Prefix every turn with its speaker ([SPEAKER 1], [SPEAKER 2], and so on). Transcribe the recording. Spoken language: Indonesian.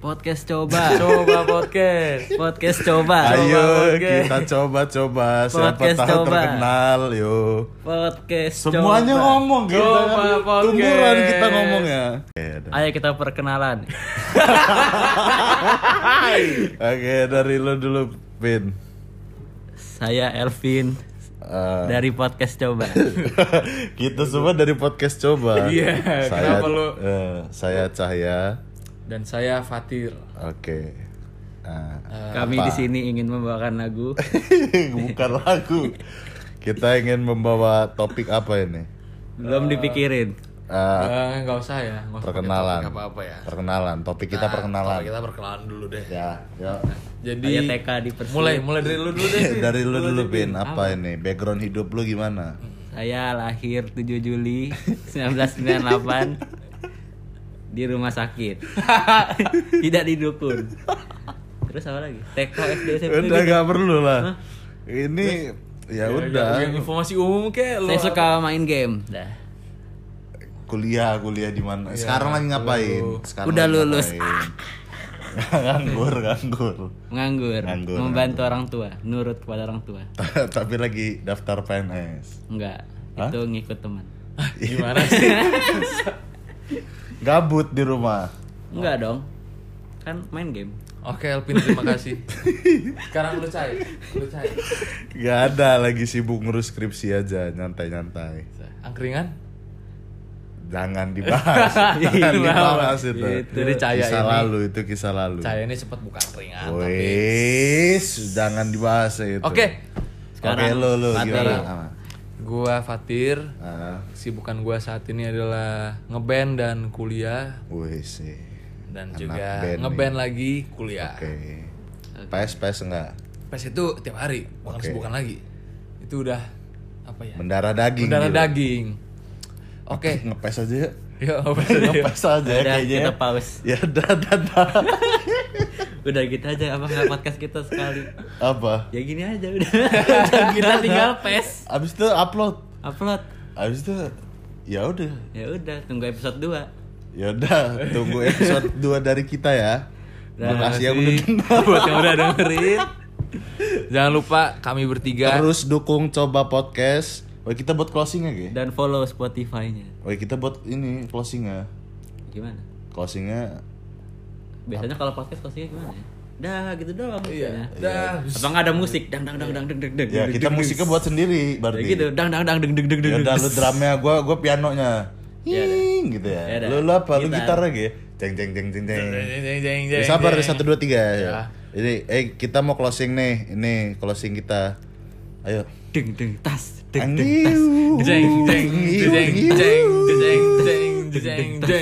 [SPEAKER 1] Podcast coba.
[SPEAKER 2] Coba podcast.
[SPEAKER 1] Podcast coba.
[SPEAKER 2] Coba,
[SPEAKER 3] Ayo
[SPEAKER 2] oke.
[SPEAKER 3] kita coba-coba siapa
[SPEAKER 1] Podcast
[SPEAKER 3] tahu
[SPEAKER 1] coba.
[SPEAKER 3] terkenal yo.
[SPEAKER 1] Podcast
[SPEAKER 3] Semuanya
[SPEAKER 1] coba.
[SPEAKER 3] ngomong kita
[SPEAKER 2] Coba
[SPEAKER 3] kan
[SPEAKER 2] podcast.
[SPEAKER 3] tumburan kita ngomong ya. Oke, da-
[SPEAKER 1] Ayo kita perkenalan.
[SPEAKER 3] Oke dari lu dulu Pin.
[SPEAKER 1] Saya Elvin
[SPEAKER 3] Eh,
[SPEAKER 1] dari podcast coba.
[SPEAKER 3] kita semua dari podcast coba.
[SPEAKER 2] Iya,
[SPEAKER 3] Saya
[SPEAKER 2] kenapa lu-
[SPEAKER 3] eh, saya Cahya.
[SPEAKER 2] Dan saya Fatir.
[SPEAKER 3] Oke. Nah,
[SPEAKER 1] Kami di sini ingin membawakan lagu
[SPEAKER 2] Eh.
[SPEAKER 3] bukan lagu. Kita ingin membawa topik apa ini?
[SPEAKER 1] belum dipikirin.
[SPEAKER 3] Eh,
[SPEAKER 2] Eh, Nggak usah ya. nggak usah pakai
[SPEAKER 3] perkenalan.
[SPEAKER 2] topik apa-apa ya.
[SPEAKER 3] Perkenalan. Topik kita
[SPEAKER 2] Nah,
[SPEAKER 3] perkenalan.
[SPEAKER 2] topik Kita perkenalan dulu deh.
[SPEAKER 3] Ya, yuk.
[SPEAKER 2] Jadi
[SPEAKER 1] Ada TK di Persi.
[SPEAKER 2] mulai mulai dari lu dulu deh.
[SPEAKER 3] Eh,
[SPEAKER 2] Vin.
[SPEAKER 3] dari lu dulu
[SPEAKER 2] aja,
[SPEAKER 3] Bin, apa ini? Background hidup lu gimana?
[SPEAKER 1] Saya lahir 7 Juli 1998 di rumah sakit. Tidak didukun. Terus apa lagi? TK SD SMP.
[SPEAKER 3] Udah gak perlu lah. Ini ya udah
[SPEAKER 2] Yang informasi umum kek lu.
[SPEAKER 1] Saya suka main game. Dah.
[SPEAKER 3] kuliah kuliah di mana? Sekarang lagi ngapain? Sekarang
[SPEAKER 1] Udah
[SPEAKER 3] lagi
[SPEAKER 1] lulus.
[SPEAKER 3] ngapain? nganggur, nganggur.
[SPEAKER 1] Nganggur,
[SPEAKER 3] Nganggur,
[SPEAKER 1] membantu orang tua, nurut kepada orang tua.
[SPEAKER 3] Ta- Tapi lagi daftar PNS.
[SPEAKER 1] Enggak,
[SPEAKER 3] Hah?
[SPEAKER 1] itu ngikut teman.
[SPEAKER 2] Ah, Gimana sih?
[SPEAKER 3] Gabut di rumah.
[SPEAKER 1] Enggak dong. Kan main game.
[SPEAKER 2] Oke Elvin terima kasih. Sekarang lu cai, lu cai.
[SPEAKER 3] Gak ada lagi sibuk ngurus skripsi aja, nyantai-nyantai.
[SPEAKER 2] Angkringan?
[SPEAKER 3] Jangan dibahas. Jangan
[SPEAKER 2] Itu
[SPEAKER 3] dibahas
[SPEAKER 2] apa?
[SPEAKER 3] Iya, itu.
[SPEAKER 2] Itu dia Cahaya
[SPEAKER 3] kisah
[SPEAKER 2] ini.
[SPEAKER 3] lalu itu kisah lalu.
[SPEAKER 2] Cai ini sempat buka angkringan. tapi-
[SPEAKER 3] Wis, jangan dibahas itu.
[SPEAKER 2] Oke.
[SPEAKER 3] Sekarang
[SPEAKER 1] Sekarang,
[SPEAKER 3] lo lo
[SPEAKER 1] Fatih.
[SPEAKER 3] gimana?
[SPEAKER 2] Gua Fatir.
[SPEAKER 3] Ah,
[SPEAKER 2] Kesibukan gua saat ini adalah ngeband dan kuliah
[SPEAKER 3] wih sih.
[SPEAKER 2] dan
[SPEAKER 3] Anak
[SPEAKER 2] juga
[SPEAKER 3] band nih.
[SPEAKER 2] ngeband lagi kuliah.
[SPEAKER 3] Oke.
[SPEAKER 2] Ah.
[SPEAKER 3] Pes pes enggak?
[SPEAKER 2] Pas itu tiap hari, bukan
[SPEAKER 3] Oke.
[SPEAKER 2] kesibukan lagi. Itu udah apa ya?
[SPEAKER 3] Mendarah daging.
[SPEAKER 2] Mendarah
[SPEAKER 3] gitu.
[SPEAKER 2] daging. Oke. Iya.
[SPEAKER 3] Ngepes aja yuk.
[SPEAKER 2] Yuk, apa sih?
[SPEAKER 3] Ngepes aja ya
[SPEAKER 1] Udah,
[SPEAKER 3] kayaknya.
[SPEAKER 1] kita pause.
[SPEAKER 3] Ya dah dah dah.
[SPEAKER 1] Udah gitu aja apa nggak podcast kita sekali.
[SPEAKER 3] Apa?
[SPEAKER 1] Ya gini aja udah. Udah, kita tinggal pes.
[SPEAKER 3] Abis itu upload.
[SPEAKER 1] Upload.
[SPEAKER 3] Abis itu ya udah.
[SPEAKER 1] Ya udah, tunggu episode 2.
[SPEAKER 3] Ya udah, tunggu episode 2 dari kita ya.
[SPEAKER 2] Terima
[SPEAKER 3] Terima kasih yang udah
[SPEAKER 2] kasih buat yang udah dengerin. Jangan lupa kami bertiga
[SPEAKER 3] Terus dukung coba podcast. Woi kita buat closing ya,
[SPEAKER 1] Dan follow Spotify-nya.
[SPEAKER 3] Woi Oh, iya, kita buat ini closing ya.
[SPEAKER 1] Gimana?
[SPEAKER 3] Closingnya
[SPEAKER 1] Biasanya kalau podcast closing gimana ya? Dah gitu
[SPEAKER 3] Iya,
[SPEAKER 1] doang biasanya.
[SPEAKER 2] Dah.
[SPEAKER 1] Apa nggak ada musik? Dang dang dang dang deng deng deng.
[SPEAKER 3] ya
[SPEAKER 1] deng,
[SPEAKER 3] kita
[SPEAKER 1] deng, deng.
[SPEAKER 3] musiknya buat sendiri berarti.
[SPEAKER 1] Ya gitu, dang dang dang deng deng deng deng.
[SPEAKER 3] Ya udah lu drumnya, gua gua pianonya.
[SPEAKER 1] Ya udah.
[SPEAKER 3] Hing gitu
[SPEAKER 1] Ya
[SPEAKER 3] ya.
[SPEAKER 1] udah.
[SPEAKER 3] Lu, lu apa? Lu
[SPEAKER 1] Gitar.
[SPEAKER 3] gitar lagi ya? Jeng jeng jeng jeng jeng.
[SPEAKER 2] Jeng, jeng, jeng,
[SPEAKER 3] Ya,
[SPEAKER 2] jeng,
[SPEAKER 3] sabar
[SPEAKER 2] jeng.
[SPEAKER 3] satu dua tiga
[SPEAKER 2] Ya.
[SPEAKER 3] ya. Jadi eh kita mau closing nih. Ini closing kita. Ayo.
[SPEAKER 1] deng deng tas deng deng tas.
[SPEAKER 3] Angiu.
[SPEAKER 2] jeng jeng jeng jeng jeng jeng jeng jeng